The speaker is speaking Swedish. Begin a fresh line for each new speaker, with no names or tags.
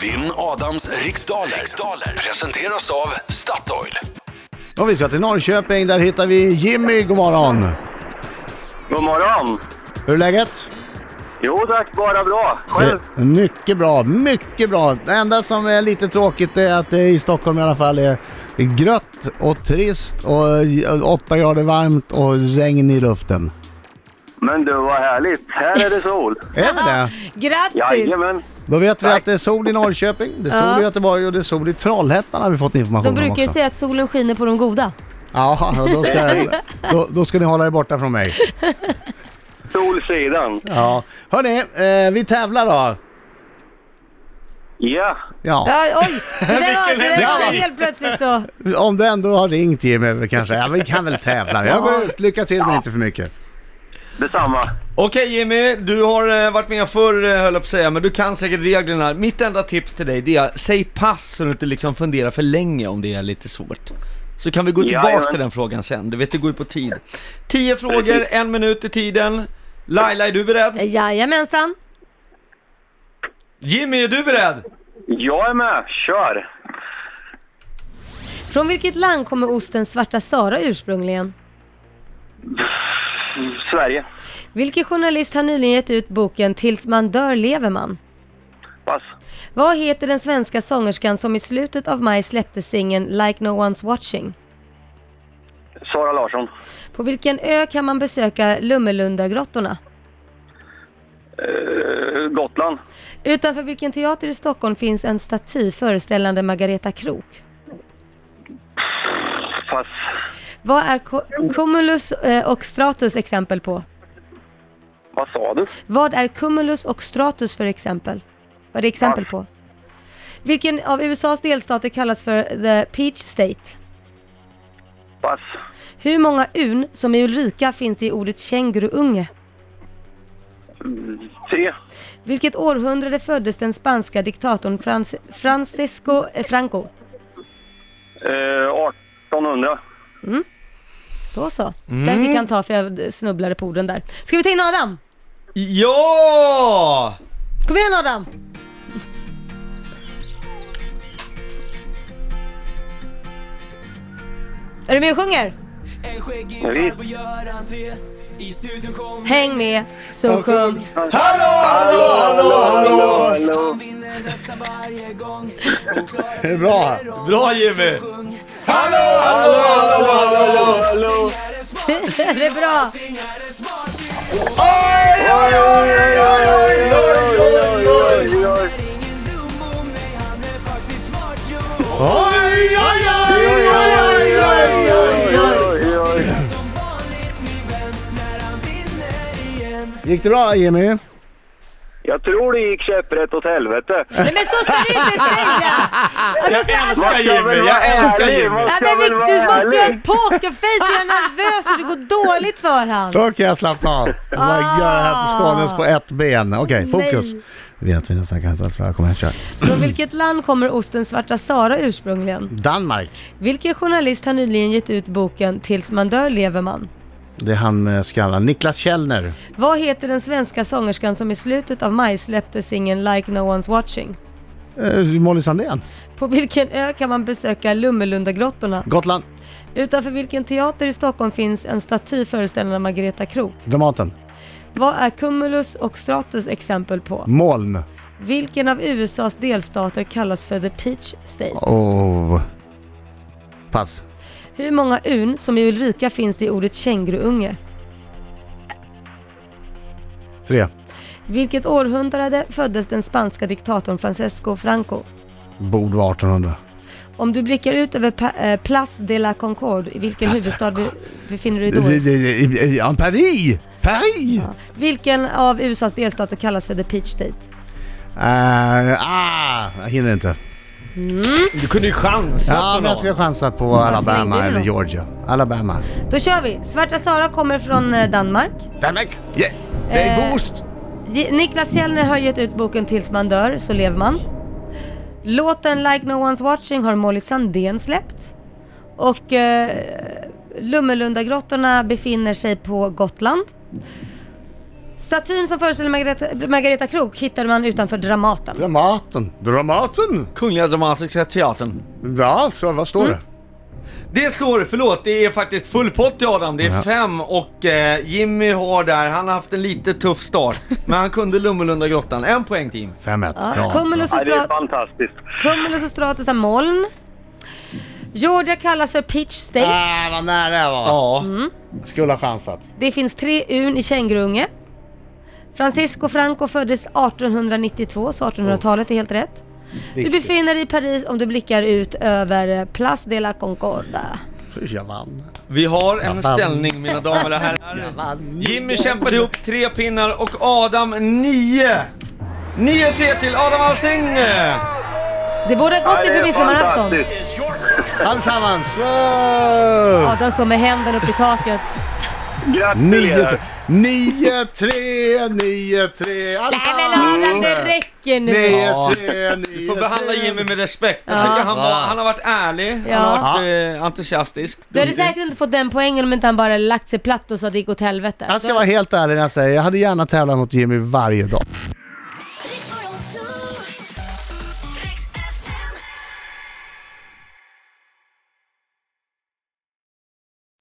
Vinn Adams riksdaler. riksdaler presenteras av Statoil.
Ja, vi ska till Norrköping. Där hittar vi Jimmy. God morgon.
God morgon!
Hur är läget?
Jo tack, bara bra. Själv?
Eh, Mycket bra, mycket bra. Det enda som är lite tråkigt är att det i Stockholm i alla fall är grött och trist och eh, åtta grader varmt och regn i luften.
Men du, vad härligt. Här är det sol.
Är det det?
Grattis!
Jajamän.
Då vet vi att det är sol i Norrköping, det är sol i
Ja.
Göteborg och det är sol i Trollhättan har vi fått information
De
om
brukar ju
också.
säga att solen skiner på de goda.
Ja, och då ska, då, då ska ni hålla er borta från mig.
Solsidan.
Ja. Hörni, eh, vi tävlar då.
Ja.
Ja.
Ja, oj! Det där var, det där var helt plötsligt så.
Om du ändå har ringt Jimmy kanske, ja vi kan väl tävla. Jag går ut. Lycka till men inte för mycket.
Detsamma.
Okej Jimmy, du har eh, varit med förr eh, höll jag på att säga, men du kan säkert reglerna. Mitt enda tips till dig det är, säg pass så du inte liksom funderar för länge om det är lite svårt. Så kan vi gå tillbaks
Jajamän.
till den frågan sen, du vet det går ju på tid. 10 frågor, en minut i tiden. Laila, är du beredd?
Jajamensan!
Jimmy, är du beredd?
Jag är med. Kör.
Från vilket land kommer osten Svarta Sara ursprungligen?
Sverige.
Vilken journalist har nyligen gett ut boken Tills man dör lever man?
Pass.
Vad heter den svenska sångerskan som i slutet av maj släppte singeln Like No One's Watching?
Sara Larsson.
På vilken ö kan man besöka Lummelundagrottorna?
Eh, Gotland.
Utanför vilken teater i Stockholm finns en staty föreställande Margareta Krook?
Pass.
Vad är co- cumulus eh, och stratus exempel på?
Vad sa du?
Vad är cumulus och stratus för exempel? Vad är det exempel på? Vilken av USAs delstater kallas för the Peach State?
Pass.
Hur många un som är Ulrika finns i ordet känguruunge?
Tre.
Vilket århundrade föddes den spanska diktatorn Franc- Francisco eh, Franco?
Eh, 1800.
Då så. Den fick han ta för jag snubblade på orden där. Ska vi ta in Adam?
Ja!
Kom igen Adam! Är du med och sjunger?
En skäggig
Ja, visst.
farbror gör entré I studion kom
Häng med, så sjung!
Hallå.
vinner nästan varje gång
Det är bra.
Bra Jimmy!
det är bra!
Gick det bra Jimmy?
Jag tror det gick käpprätt åt helvete.
Nej men så ska du inte säga! Alltså, så, alltså,
älskar Jimmy, jag älskar Jimmy!
nej, men Vic, du måste göra en pokerface, du är nervös och det går dåligt för han.
Då kan jag slappna av. Jag Bara
Ah.
göra det här på ståendes på ett ben. Okej, fokus.
Nej.
Vi vet vi nästan kan slappna Kom igen, kör.
Från vilket land kommer osten Svarta Sara ursprungligen?
Danmark.
Vilken journalist har nyligen gett ut boken Tills man dör lever man?
Det är han med skallen. Niklas Källner.
Vad heter den svenska sångerskan som i slutet av maj släppte singeln Like No One's Watching?
Eh, Molly Sandén.
På vilken ö kan man besöka Lummelundagrottorna?
Gotland.
Utanför vilken teater i Stockholm finns en staty föreställande Margareta Krook?
Dramaten.
Vad är Cumulus och Stratus exempel på?
Moln.
Vilken av USAs delstater kallas för The Peach State?
Oh. Pass.
Hur många un som i Ulrika finns i ordet känguruunge?
Tre.
Vilket århundrade föddes den spanska diktatorn Francisco Franco?
Bord var 1800.
Om du blickar ut över pa- eh, Place de la Concorde, i vilken
Place de
huvudstad be- befinner du dig då? i?
Ja, Paris! Paris!
Ja. Vilken av USAs delstater kallas för The Peach State?
Eh, ah, jag hinner inte.
Du kunde ju chansa
Ja,
på
men jag
någon.
ska chansa på Alabama
slängde du
eller
då?
Georgia. Alabama.
Då kör vi! Svarta Sara kommer från eh, Danmark.
Danmark! Yeah. Det är
Eh.
boost!
Ge- Niklas Källner har gett ut boken Tills man dör, så lever man. Låten Like No One's Watching har Molly Sandén släppt. Och eh, Lummelundagrottorna befinner sig på Gotland. Statyn som föreställer Margareta, Margareta Krok hittade man utanför Dramaten.
Dramaten. Dramaten?
Kungliga Dramatiska Teatern.
Ja, så vad står
Mm.
det?
Det står, förlåt, det är faktiskt full pott i Adam. Det är fem och eh, Jimmy har där, han har haft en lite tuff start. men han kunde Lummelunda grottan. En poäng till Jim.
5-1.
Ja. Cumulus, och
Nej, det är
strat-
fantastiskt.
Cumulus och Stratus är moln. Georgia kallas för Peach State.
Ah, vad nära jag var.
Ja.
Skulle ha chansat.
Det finns tre urn i kängurunge. Francisco Franco föddes 1892, så 1800-talet är helt rätt. Du befinner dig i Paris om du blickar ut över eh, Place de la Concorde.
Fy, Jag vann.
Vi har en
vann.
ställning mina damer och herrar. Jimmy kämpade ihop tre pinnar och Adam nio. 9-3 till Adam Alsing!
Det borde ha gått
Nej, det
inför
är
midsommarafton.
fantastiskt.
Allesammans!
Adam står med händen upp i taket.
Gratulerar!
9-3, 9-3, 9-3.
Nej men
Allesammans!
Adam, det räcker nu!
9-3, 9-3.
Vi får behandla Jimmy med respekt. Jag tycker han, var, han har varit ärlig,
Ja.
han har varit eh, entusiastisk.
Du hade säkert inte fått den poängen om inte han bara lagt sig platt och sa att det gick åt helvete.
Jag ska vara helt ärlig när jag säger jag hade gärna tävlat mot Jimmy varje dag.